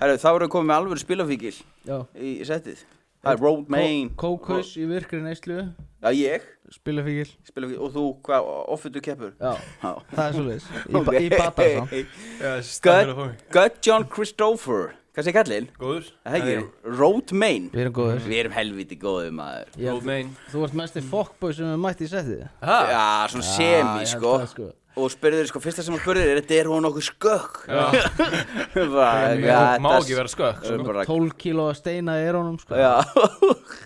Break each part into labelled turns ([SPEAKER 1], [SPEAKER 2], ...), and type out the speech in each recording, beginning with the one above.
[SPEAKER 1] Herru, þá erum við komið með alvöru spilafíkil
[SPEAKER 2] Já
[SPEAKER 1] í settið. Það er Road Main.
[SPEAKER 2] Kó- Kókus í virkri neyslu
[SPEAKER 1] Já, ég.
[SPEAKER 2] Spilafíkil
[SPEAKER 1] Spilafíkil. Og þú, hvað, offitu keppur?
[SPEAKER 2] Já
[SPEAKER 1] Já.
[SPEAKER 2] Það er svolítið Í, ba í bata samt
[SPEAKER 1] Gött Gut John Christopher. Hvað segir kallinn?
[SPEAKER 3] Góður
[SPEAKER 1] Það er ekki. Road Main.
[SPEAKER 2] Við erum góður
[SPEAKER 1] Við erum helviti góðið maður.
[SPEAKER 2] Ég-
[SPEAKER 3] Róð megin
[SPEAKER 2] Þú ert mesti fokkbói sem við mætti í settið
[SPEAKER 3] Já
[SPEAKER 1] Já, svona semi, sko. Og spurður, sko, fyrsta sem hann spurður er, þetta er hún okkur skökk. Bara,
[SPEAKER 3] Má
[SPEAKER 1] já,
[SPEAKER 3] má
[SPEAKER 1] þetta-
[SPEAKER 3] ekki vera skökk sko.
[SPEAKER 1] Við erum bara-
[SPEAKER 2] 12 kíló að steina í erónum sko
[SPEAKER 1] Já,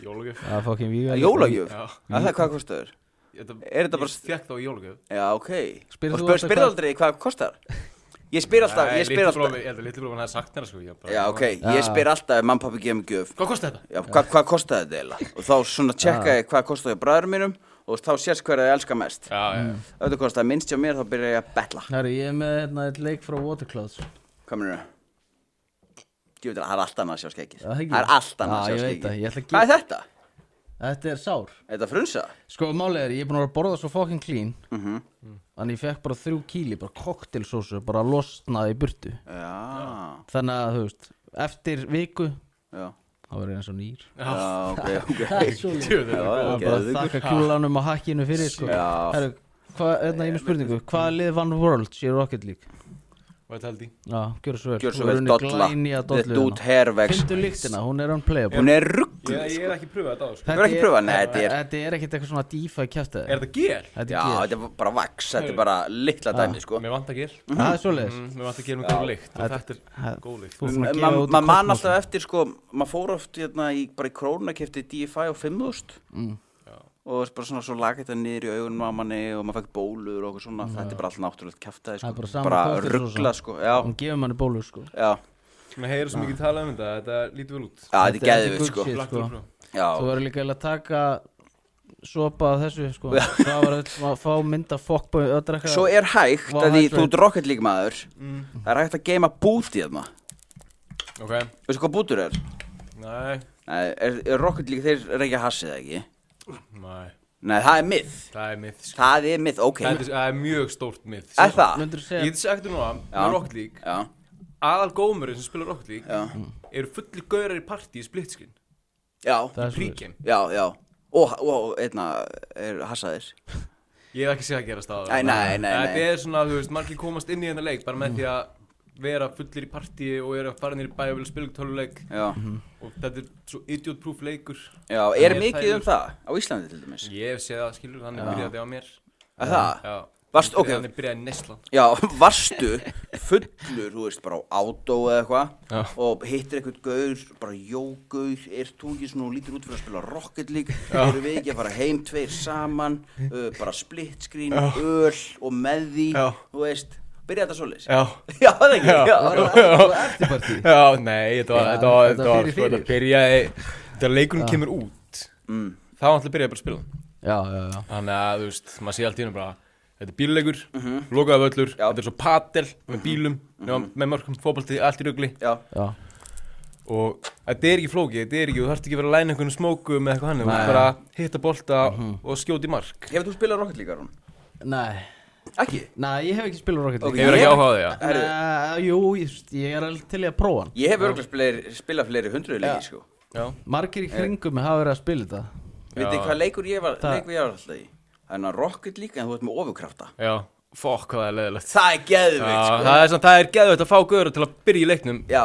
[SPEAKER 3] Jólugjöf
[SPEAKER 2] Það er fokkin víga
[SPEAKER 1] jólagjöf.
[SPEAKER 3] Já
[SPEAKER 1] Það er hvað kostuður? Er þetta bara-
[SPEAKER 3] Ég fekk þá í jólugjöf
[SPEAKER 1] Já, ok.
[SPEAKER 2] Spyrð
[SPEAKER 1] og
[SPEAKER 2] þú
[SPEAKER 1] spyr,
[SPEAKER 2] alltaf
[SPEAKER 1] spyr
[SPEAKER 2] hvað-
[SPEAKER 1] aldrei hvað kostar? Ég spyr alltaf, ég spyr alltaf.
[SPEAKER 3] Ég held að litlu bróðan hefði sagt mér það, sko ég bara-
[SPEAKER 1] Já, ok, ég spyr alltaf ef mann pappi gefur mig gjöf.
[SPEAKER 3] Hvað kosti þetta?
[SPEAKER 1] Já, hva, hvað kostaði þetta eiginlega? Og þá svona tjekka ég hvað kostaði bræður mínum og þá sést hverja ég elska mest.
[SPEAKER 3] Já, já,
[SPEAKER 2] Mm.
[SPEAKER 3] já.
[SPEAKER 1] Ef þetta kostaði minnst hjá mér þá byrja ég að betla.
[SPEAKER 2] Herru, ég er með hérna eitt leik frá Waterclouds
[SPEAKER 1] Hvað minnur það? Ég veit að það er allt annað að sjá skekkið.
[SPEAKER 2] Já, það ekki.
[SPEAKER 1] Það er allt annað
[SPEAKER 2] Já,
[SPEAKER 1] að sjá
[SPEAKER 2] ég veit það,
[SPEAKER 1] skekkið.
[SPEAKER 2] ég ætla að
[SPEAKER 1] Hvað er þetta?
[SPEAKER 2] Þetta er sár
[SPEAKER 1] Er þetta frunsa? Mhm.
[SPEAKER 2] Sko, málið er, ég er búin að vera að borða svo fokkin clean Þannig ég fekk bara þrjú kíli, bara koktelsósu, bara losnaði í burtu
[SPEAKER 1] Já,
[SPEAKER 2] Þannig að, þú veist, eftir viku
[SPEAKER 1] já.
[SPEAKER 2] þá verður ég eins og nýr
[SPEAKER 1] Já, ok, ok.
[SPEAKER 2] Það er svo leik
[SPEAKER 3] Djöfull er
[SPEAKER 1] Já, já.
[SPEAKER 3] það góð.
[SPEAKER 2] Það er bara að þakka kjúlanum og hakkinu fyrir, sko
[SPEAKER 1] Já.
[SPEAKER 2] Herru, hvað, hérna, einu spurningu Hvað lið vann Worlds í Rocket League?
[SPEAKER 3] Var þetta held í?
[SPEAKER 2] Já, gjör svo vel
[SPEAKER 1] Gjör svo
[SPEAKER 2] Þú
[SPEAKER 1] vel
[SPEAKER 2] eru henni
[SPEAKER 1] dolla.
[SPEAKER 2] glæný að
[SPEAKER 1] Þetta
[SPEAKER 2] dollu
[SPEAKER 1] út hervegs.
[SPEAKER 2] Fyndu líktina, hérna. hún er unplayable
[SPEAKER 1] Hún er rugglu.
[SPEAKER 3] Ég er ekki pröfað þetta á, sko
[SPEAKER 1] Þú verður ekki
[SPEAKER 2] Þetta er-
[SPEAKER 1] pröfað? Nei, þetta er...
[SPEAKER 2] Þetta er ekkert eitthvað svona dífa í kjæftið
[SPEAKER 3] Er þetta gér?
[SPEAKER 2] Þetta
[SPEAKER 1] Já,
[SPEAKER 2] er gel.
[SPEAKER 1] þetta er bara vax, þetta er bara litla dæmi, sko.
[SPEAKER 3] Mér vant að gér
[SPEAKER 2] Það er svoleiðis
[SPEAKER 3] Mér vant að gera með góð lykt Og þetta
[SPEAKER 2] Mm. Það-
[SPEAKER 3] er góð lykt
[SPEAKER 1] En
[SPEAKER 2] Þú
[SPEAKER 1] Mhm. ma- maður man alltaf eftir sko maður fór oft hérna í, bara í krónakefti DFI og 5.000 mm. og það er bara svona svo lagið þetta niður í augunum á manni og maður fekk bólur og okkur svona þetta er bara alltaf náttúrulegt kæftæði
[SPEAKER 2] Það er bara
[SPEAKER 1] sko.
[SPEAKER 2] sama
[SPEAKER 1] bara
[SPEAKER 2] kostur svo
[SPEAKER 1] ruggla
[SPEAKER 2] sem.
[SPEAKER 1] sko já,
[SPEAKER 2] Hún gefur manni bólu sko
[SPEAKER 1] já, já,
[SPEAKER 3] Mér heyrir svo mikið talað um þetta Þetta lítur vel út
[SPEAKER 1] þetta er geðið
[SPEAKER 2] good
[SPEAKER 1] sko
[SPEAKER 2] shit,
[SPEAKER 3] Lagt
[SPEAKER 2] sko.
[SPEAKER 3] úr pröf.
[SPEAKER 1] já,
[SPEAKER 2] Þú verður líka eiginlega að taka Sopa af þessu sko Það var öll að fá mynda fokkbói Það er
[SPEAKER 1] svo er hægt
[SPEAKER 2] Vá,
[SPEAKER 1] að því
[SPEAKER 2] hægt
[SPEAKER 1] þú
[SPEAKER 2] verið.
[SPEAKER 1] ert rocket líka maður
[SPEAKER 3] Mm.
[SPEAKER 1] það er hægt að geima bút í þarna
[SPEAKER 3] sko. Ok
[SPEAKER 1] veistu hvað bútur er?
[SPEAKER 3] Nei
[SPEAKER 1] Nei, er, er rocket líka þeir reykja hassið ekki?
[SPEAKER 3] Nei
[SPEAKER 1] Nei, það er mið
[SPEAKER 3] Það er mið sko.
[SPEAKER 1] það er mið, ok,
[SPEAKER 3] Það er- það er mjög stórt sko. mið
[SPEAKER 1] er það?
[SPEAKER 2] Möndur
[SPEAKER 3] Ég
[SPEAKER 2] segja
[SPEAKER 3] geti sagt þér núna
[SPEAKER 1] Já.
[SPEAKER 3] Með Rocket League
[SPEAKER 1] já,
[SPEAKER 3] Aðal gómurinn sem spilar Rocket League
[SPEAKER 1] Já.
[SPEAKER 3] Eru fullir gaurar í partí í splitskin
[SPEAKER 1] já
[SPEAKER 2] Það er svoleiðis.
[SPEAKER 3] Pre-game
[SPEAKER 1] Já, já Og, og einna er hassaðir
[SPEAKER 3] Ég hef ekki séð að gera stað
[SPEAKER 1] Æ, nei, nei, nei.
[SPEAKER 3] Þetta er svona, þú veist, margir komast inn í þetta leik Bara með því að vera fullir í partí Og eru að fara nýri bæ og vilja spila töluleik
[SPEAKER 1] Já,
[SPEAKER 3] Og þetta er svo idiot-proof leikur
[SPEAKER 1] já er
[SPEAKER 3] Ég
[SPEAKER 1] mikið
[SPEAKER 3] þægur.
[SPEAKER 1] um það á Íslandi til dæmis
[SPEAKER 3] Ég hef séð það, skilur, þannig byrjaði þetta á mér
[SPEAKER 1] Að það?
[SPEAKER 3] Já
[SPEAKER 1] Varst- ok.
[SPEAKER 3] Þannig byrjaði neslan
[SPEAKER 1] Já, varstu fullur, þú veist, bara á átó eða
[SPEAKER 3] Já.
[SPEAKER 1] eitthvað og hittir eitthvað gaur, bara jógauð, er þú ekki svona og lítur út fyrir að spila Rocket League eru við ekki að fara heim tveir saman uh, bara split screen, öl og með því,
[SPEAKER 3] Já.
[SPEAKER 1] þú veist byrja þetta svoleiðis
[SPEAKER 3] Já
[SPEAKER 1] Já, það ekki, já,
[SPEAKER 2] Það var alltaf eftirparti
[SPEAKER 3] Já, nei, þetta var,
[SPEAKER 2] Já,
[SPEAKER 3] þetta var,
[SPEAKER 2] þetta
[SPEAKER 3] þetta
[SPEAKER 2] fyrir,
[SPEAKER 3] var, sko,
[SPEAKER 2] fyrir.
[SPEAKER 3] þetta byrjaði Þegar leikurinn kemur út
[SPEAKER 1] Mm.
[SPEAKER 3] Þá ætla að byrjaði bara að spila hann.
[SPEAKER 2] Já, já, já
[SPEAKER 3] Þannig að, þú veist, maður sé allt í hennu bara Þetta er bíluleikur, mm lokaða völlur
[SPEAKER 1] Já.
[SPEAKER 3] Þetta er svo patel með bílum mm Með mörgum fótbolti, allt í rugli
[SPEAKER 1] já,
[SPEAKER 2] Já,
[SPEAKER 3] Og þetta er ekki flókið, þetta er ekki Þú þarft ekki að vera að læna einhvern smóku með eitthvað hann Þú
[SPEAKER 2] Nei.
[SPEAKER 3] þarft bara að hitta bolta og skjóta í mark
[SPEAKER 1] Hefur þú spilað Rocket League, Aron?
[SPEAKER 2] nei
[SPEAKER 1] Ekki?
[SPEAKER 2] Nei, ég hef ekki spilað Rocket
[SPEAKER 1] Ok.
[SPEAKER 2] League
[SPEAKER 1] Ég-
[SPEAKER 3] Hefur ekki áhugað því, já
[SPEAKER 1] Herru.
[SPEAKER 2] Nei, eh, Jú, ég- ég er alveg til í að prófa hann
[SPEAKER 1] Ég hef örgulega spilað fleiri hundruð leiki, sko
[SPEAKER 3] Já,
[SPEAKER 2] Margir
[SPEAKER 1] Eh.
[SPEAKER 2] í kringum mig hafa verið að spila þetta
[SPEAKER 1] Veit þið
[SPEAKER 3] Já.
[SPEAKER 1] hvað leikur ég var,
[SPEAKER 2] Það-
[SPEAKER 1] leikur ég var alltaf í? Það er ná Rocket League en þú ert með ofurkrafta
[SPEAKER 3] já, fokk hvað það er leðilegt
[SPEAKER 1] Það er geðvikt
[SPEAKER 3] Já,
[SPEAKER 1] sko
[SPEAKER 3] það er, samt- það er geðvægt að fá göður til að byrja í leiknum
[SPEAKER 1] Já,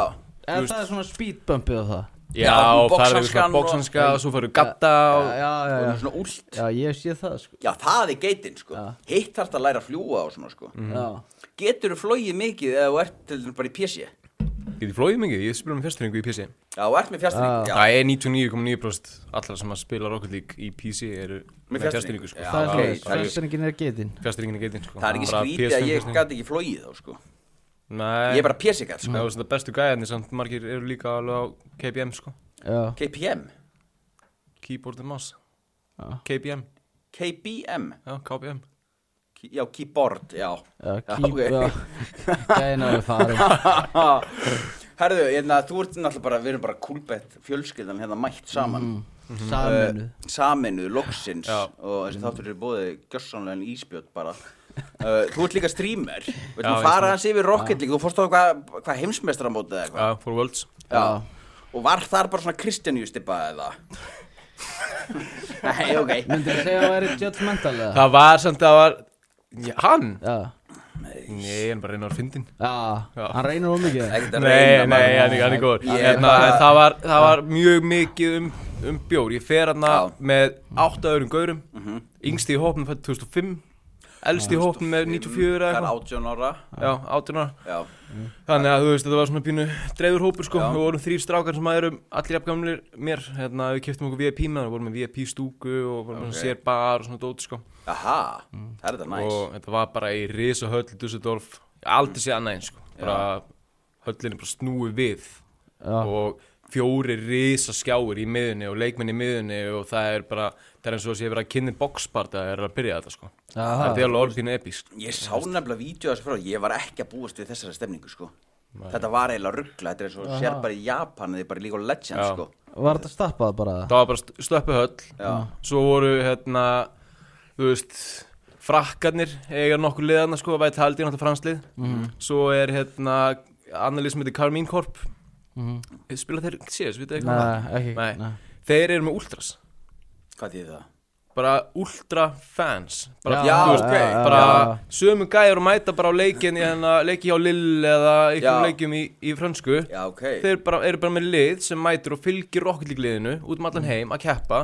[SPEAKER 2] En það er svona speedbumpið og það
[SPEAKER 3] Já,
[SPEAKER 1] Já,
[SPEAKER 3] og farið
[SPEAKER 1] boxhandskan
[SPEAKER 3] eitthvað
[SPEAKER 1] og-
[SPEAKER 3] bóksanska og svo farið gatta og...
[SPEAKER 2] Já, já,
[SPEAKER 1] það
[SPEAKER 2] já
[SPEAKER 1] er svona últ
[SPEAKER 2] Já, ég sé það sko
[SPEAKER 1] Já, það er geitin sko
[SPEAKER 2] Já. Mm.
[SPEAKER 1] Hitt þarf að læra að fljúa og svona sko
[SPEAKER 2] Já
[SPEAKER 1] Getur þú flogið mikið eða þú ert til dæmis bara í PC Já,
[SPEAKER 3] Ég geti flóið mikið, ég spila með fjárstyrningu í PC
[SPEAKER 1] þú ert með fjastringu Já,
[SPEAKER 3] Það er 99,9% allra sem að spila Rocket League í PC eru með fjárstyrningu sko.
[SPEAKER 1] Já,
[SPEAKER 2] Það er
[SPEAKER 1] ok,
[SPEAKER 2] svona,
[SPEAKER 1] það er-
[SPEAKER 2] svenstöringin er getinn
[SPEAKER 3] Fjárstyrningin er geitin sko.
[SPEAKER 1] það er ekki
[SPEAKER 3] Bara
[SPEAKER 1] skrítið
[SPEAKER 3] PS5
[SPEAKER 1] að ég
[SPEAKER 3] fjárstýring.
[SPEAKER 1] gæti ekki flogið þá sko
[SPEAKER 3] Nei,
[SPEAKER 1] Ég er bara PC-gæt
[SPEAKER 3] Það
[SPEAKER 1] sko
[SPEAKER 3] er svona bestu gæðinni samt margir eru líka alveg á KBM sko
[SPEAKER 2] Já,
[SPEAKER 1] KPM
[SPEAKER 3] Keyboard and Mouse
[SPEAKER 2] Já.
[SPEAKER 3] KBM,
[SPEAKER 1] KBM
[SPEAKER 3] já, KBM
[SPEAKER 1] Ki- Já, keyboard, já
[SPEAKER 2] já,
[SPEAKER 1] ok.
[SPEAKER 2] kýp Já, gæna við farum
[SPEAKER 1] Herðu, hérna, þú ert náttúrulega bara, við erum bara kúlbett fjölskyldan hérna mætt saman
[SPEAKER 2] Saminu
[SPEAKER 1] Eh, Saminu, loksins
[SPEAKER 3] Já.
[SPEAKER 1] og þessi þáttur eru bóðið gjörsanlegan íspjöld bara uh, Þú ert líka streamer Við
[SPEAKER 3] Já,
[SPEAKER 1] ætlum
[SPEAKER 3] ég
[SPEAKER 1] að fara hans yfir Rocket League Þú fórst á hvað hva heimsmestramótið eða
[SPEAKER 3] Já, for worlds
[SPEAKER 1] eitthvað Og var þar bara svona Kristjaníu stipað eða Nei, ok
[SPEAKER 2] Myndi að segja að það er judgmental eða?
[SPEAKER 3] Það var samt að það var Já, Hann?
[SPEAKER 2] Já,
[SPEAKER 3] Nei, hann bara reyna að fyndin
[SPEAKER 2] já,
[SPEAKER 3] Já.
[SPEAKER 2] hann reynir of mikið
[SPEAKER 1] Ekkert að
[SPEAKER 3] Nei,
[SPEAKER 1] reyna, maður.
[SPEAKER 3] nei, hann er- hann er góður
[SPEAKER 1] Ég-
[SPEAKER 3] Hérna, en Það var- það var mjög mikið um, um bjór Ég fer hann
[SPEAKER 1] Já. Mhm.
[SPEAKER 3] með átta öðrum gaurum Yngsti í hópnum fætt 2005 Elsti í hópnum með 94 eða
[SPEAKER 1] Það er
[SPEAKER 3] eitthvað.
[SPEAKER 1] 18 ára
[SPEAKER 3] Já, áttunar
[SPEAKER 1] Já,
[SPEAKER 3] Þannig að þú veist, þetta var svona pínu dreifur hópur sko
[SPEAKER 1] Já.
[SPEAKER 3] Við vorum þrýr strákar sem aðerum allir jafngamlir mér Hérna, við kiptum okkur VIP með það Við vorum með VIP stúku og vorum
[SPEAKER 1] Ok.
[SPEAKER 3] með sér bar og svona dót sko
[SPEAKER 1] aha, það er þetta næs
[SPEAKER 3] og þetta var bara í risa höll í Dusseldorf, aldrei séð annað eins sko. bara höllin er bara snúið við
[SPEAKER 2] Já,
[SPEAKER 3] og fjóri risa skjáir í miðunni og leikmenn í miðunni og það er bara það er eins og þess að ég hef verið að kynni boxparta að ég er að byrja þetta sko
[SPEAKER 2] Aha.
[SPEAKER 3] þetta er alveg orðin episk
[SPEAKER 1] Ég sá nefnilega vídeo þessu frá, ég var ekki að búast við þessari stemningu sko Þetta var eiginlega ruggla, þetta er eins og sér bara í Japan eða bara líka á Legend
[SPEAKER 3] Já.
[SPEAKER 1] sko
[SPEAKER 2] var þetta stappað bara?
[SPEAKER 3] það var bara slöppu höll
[SPEAKER 1] Já.
[SPEAKER 3] svo voru hérna þú veist frakkarnir eiga nokkur liðana sko væri taldi náttúrulega franslið
[SPEAKER 2] Mhm.
[SPEAKER 3] svo er hérna annarlið sem heitir Carmine Corp spila þeir CS, við þetta eitthvað um það?
[SPEAKER 2] Mhm. Nei, ekki,
[SPEAKER 3] Nei.
[SPEAKER 2] nei
[SPEAKER 3] Þeir eru með ultras
[SPEAKER 1] Hvað þýðir það?
[SPEAKER 3] Bara ultra fans Bara,
[SPEAKER 1] Já,
[SPEAKER 3] þú veist,
[SPEAKER 1] ok.
[SPEAKER 3] bara,
[SPEAKER 2] já.
[SPEAKER 3] sömu gæjar og mæta bara á leikin í hana, leiki hjá Lill eða
[SPEAKER 1] Já.
[SPEAKER 3] einhverjum leikjum í, í frönsku
[SPEAKER 1] Já, ok
[SPEAKER 3] Þeir bara, eru bara með lið sem mætir og fylgir Rocket League liðinu út um allan heim að keppa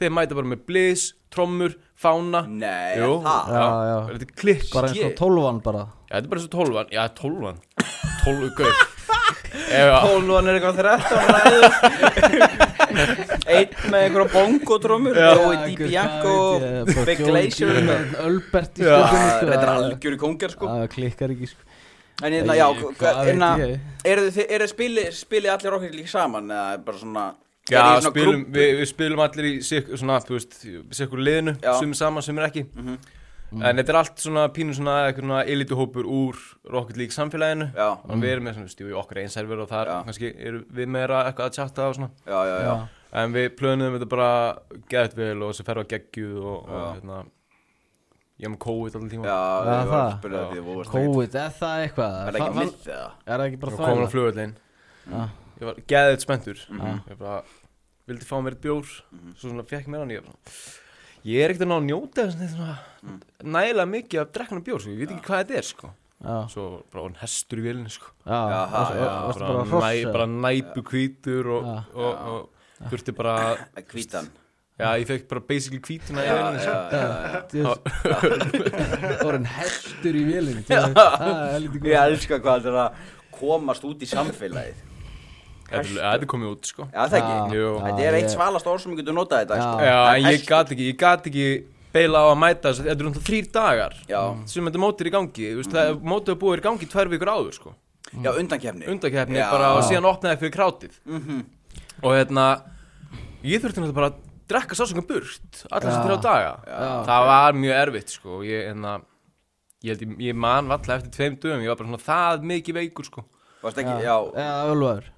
[SPEAKER 3] Þeir mæta bara með blizz, trommur, fána
[SPEAKER 1] Nei,
[SPEAKER 3] Jú,
[SPEAKER 1] það
[SPEAKER 2] Já,
[SPEAKER 3] já,
[SPEAKER 2] já.
[SPEAKER 3] Þetta er klikk
[SPEAKER 2] Bara eins og tólvan bara
[SPEAKER 3] Já, þetta er bara eins og tólvan Já, tólvan Tólvu gauð Já,
[SPEAKER 1] Tólvan er eitthvað 13 ræður Einn með einhverja bongotrömmur Jói Di Bianco Big Glacier Þetta
[SPEAKER 2] Ölbert í
[SPEAKER 3] Já,
[SPEAKER 2] stökunni
[SPEAKER 1] er algjör í kongar sko
[SPEAKER 2] Það klikkar ekki sko
[SPEAKER 1] En hérna, já,
[SPEAKER 2] Ah. Æ,
[SPEAKER 1] hva-
[SPEAKER 2] hvað
[SPEAKER 1] hérna
[SPEAKER 2] veit ég?
[SPEAKER 1] Eru þið eru þið spili, spili allir okkur líka saman eða er bara svona
[SPEAKER 3] Já,
[SPEAKER 1] eru þið í svona
[SPEAKER 3] spilum,
[SPEAKER 1] grúpp-
[SPEAKER 3] við, við spilum allir í sig- svona, þú veist, sikkur liðinu,
[SPEAKER 1] Já. Mhm.
[SPEAKER 3] sumir saman, sumir ekki. En þetta er allt svona pínu svona eitthvað svona elituhópur úr Rocket League samfélaginu.
[SPEAKER 1] Já,
[SPEAKER 3] Og við erum með svona, stjú, okkar einserver og þar
[SPEAKER 1] Já.
[SPEAKER 3] kannski erum við meira eitthvað að chatta og svona.
[SPEAKER 1] já, já, já.
[SPEAKER 3] En við plönuðum þetta bara gett vel og þessi ferð var geggjuð og, og hérna, ég hef með COVID allan tíma.
[SPEAKER 1] Já,
[SPEAKER 2] Já,
[SPEAKER 1] ég var að
[SPEAKER 2] Ah. það.
[SPEAKER 1] spila því að voru stengið.
[SPEAKER 2] COVID, er það eitthvað?
[SPEAKER 1] Er það ekki
[SPEAKER 2] Fa-
[SPEAKER 1] mitt eða?
[SPEAKER 2] Er það ekki bara
[SPEAKER 3] Og komin á
[SPEAKER 2] þvæla?
[SPEAKER 3] flugvöldin.
[SPEAKER 2] Já.
[SPEAKER 3] Ég var geðið spenntur.
[SPEAKER 1] Mhm.
[SPEAKER 3] Ég bara vildi fá mér eitt bjór, svo svona fekk mér hann. Ég, bara, ég er ekkert að ná að njóta þess að svona
[SPEAKER 1] Mhm.
[SPEAKER 3] nægilega mikið af drekkna bjór, sko. Ég veit ekki hvað þetta er, sko.
[SPEAKER 2] Já,
[SPEAKER 3] Svo bara hann hestur í vilni, sko.
[SPEAKER 2] já,
[SPEAKER 1] Jaha,
[SPEAKER 2] varstu-
[SPEAKER 1] já,
[SPEAKER 2] varstu bara hross
[SPEAKER 3] næ,
[SPEAKER 2] eða?
[SPEAKER 3] bara næpu hvítur og,
[SPEAKER 2] Já.
[SPEAKER 3] og, og, og þurfti bara,
[SPEAKER 1] Eh, Hvítan.
[SPEAKER 3] já, ég fekk bara basically hvítuna í
[SPEAKER 1] Já,
[SPEAKER 3] vilni,
[SPEAKER 1] já,
[SPEAKER 3] sko.
[SPEAKER 1] já.
[SPEAKER 2] Djöfull. Það var hann hestur í vélinn Það er lítið
[SPEAKER 1] Ég
[SPEAKER 2] góð
[SPEAKER 1] elska hvað þetta er að komast út í samfélagið.
[SPEAKER 3] Þetta er- þetta er komið út, sko.
[SPEAKER 1] Já, það ekki.
[SPEAKER 3] Já. Jú.
[SPEAKER 1] Þetta er eitt
[SPEAKER 2] ég-
[SPEAKER 1] svalast orð sem ég getur notað þetta.
[SPEAKER 2] Já.
[SPEAKER 1] sko.
[SPEAKER 3] Já,
[SPEAKER 1] Það er
[SPEAKER 3] en ég
[SPEAKER 1] hestur.
[SPEAKER 3] gat ekki, ég gat ekki beila á að mæta þess að þetta eru náttúrulega þrýr dagar
[SPEAKER 1] Já. Mhm.
[SPEAKER 3] sem þetta mótið er í gangi, þú veist, það mótið er búið í gangi tvær vikur áður, sko,
[SPEAKER 1] Já, undankefni.
[SPEAKER 3] undakefni
[SPEAKER 1] Já.
[SPEAKER 3] bara og síðan opnaði fyrir krátið og hérna, ég þurfti náttúrulega bara að drekka sásöngum burt alla þess
[SPEAKER 2] Já.
[SPEAKER 3] að þrjá daga, það var mjög erfitt, sko, og ég, hérna, ég held ég, ég man valla eftir tveim dögum, ég var bara svona það mikið veikur, sko.
[SPEAKER 1] Varst ekki, já.
[SPEAKER 2] Já, ölvaður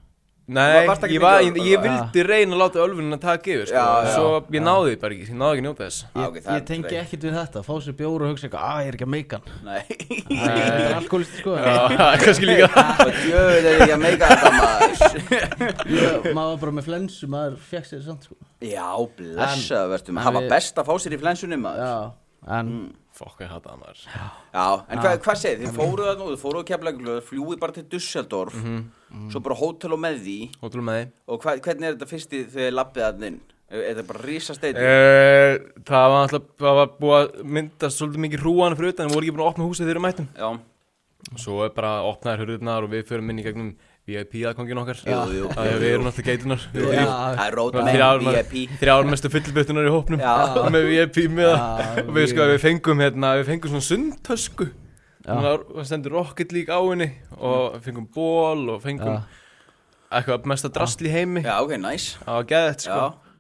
[SPEAKER 3] Nei,
[SPEAKER 1] varst ekki
[SPEAKER 3] ég, var, ég,
[SPEAKER 1] mikið-
[SPEAKER 3] ég vildi reyna að láta ölfunina taka yfir, sko,
[SPEAKER 1] Já, já.
[SPEAKER 3] svo ég náði því bara ekki, ég náði ekki að njóta þess.
[SPEAKER 1] Já,
[SPEAKER 2] Ég,
[SPEAKER 1] ok, það er
[SPEAKER 2] ég tengi
[SPEAKER 1] reynd.
[SPEAKER 2] ekkert við þetta, fá sér bjóru og hugsa eitthvað, að ég er ekki að meika hann
[SPEAKER 1] Nei.
[SPEAKER 2] Það er alkoholist sko en-
[SPEAKER 3] Já, það er kannski líka
[SPEAKER 1] Og djöður er ekki að meika þetta maður.
[SPEAKER 2] Ég- Maður var bara með flensu, maður fekk sér samt sko
[SPEAKER 1] Já, blessaðu verðstum.
[SPEAKER 2] en
[SPEAKER 1] Hafa
[SPEAKER 2] við-
[SPEAKER 1] best að fá sér í flensunum maður.
[SPEAKER 2] Já,
[SPEAKER 1] Mm.
[SPEAKER 2] en
[SPEAKER 3] Fokk, ég hata það maður
[SPEAKER 1] Já, en hvað, hvað segir þið? Þið fóruð þarna og þið fóruð að kemla fljúið bara til Dusseldorf,
[SPEAKER 3] Mhm.
[SPEAKER 1] svo bara hótel og með því
[SPEAKER 3] Hótulum með
[SPEAKER 1] og hva, hvernig er þetta fyrsti þegar þið lappið þarna inn? Er þetta bara risasteitur?
[SPEAKER 3] Eh. þið Það var alltaf, það var búið að myndast svolítið mikið hrúan fyrir utan en voru ekki búin að opna húsið þegar við mættum
[SPEAKER 1] Já,
[SPEAKER 3] Svo er bara að opna þær hurðunar og við förum inn í gegnum VIP-aðkongin okkar
[SPEAKER 1] Jú, jú,
[SPEAKER 3] Það er við erum alltaf geitunar
[SPEAKER 2] Já.
[SPEAKER 3] Við þrír.
[SPEAKER 1] það er
[SPEAKER 3] Það
[SPEAKER 1] rótum
[SPEAKER 3] er
[SPEAKER 1] með
[SPEAKER 3] Þrjár
[SPEAKER 1] VIP
[SPEAKER 3] þrjár mestu fyllböttunar í hópnum
[SPEAKER 1] Já.
[SPEAKER 3] með VIP með það
[SPEAKER 2] Já,
[SPEAKER 3] og við sko
[SPEAKER 2] mjög.
[SPEAKER 3] við fengum hérna, við fengum svona sundtösku þannig að það stendur Rocket League á henni og fengum ból og fengum
[SPEAKER 2] Já.
[SPEAKER 3] eitthvað mesta drastl í heimi
[SPEAKER 1] Já, ok, næs
[SPEAKER 3] Það var geðið, sko.
[SPEAKER 1] Já.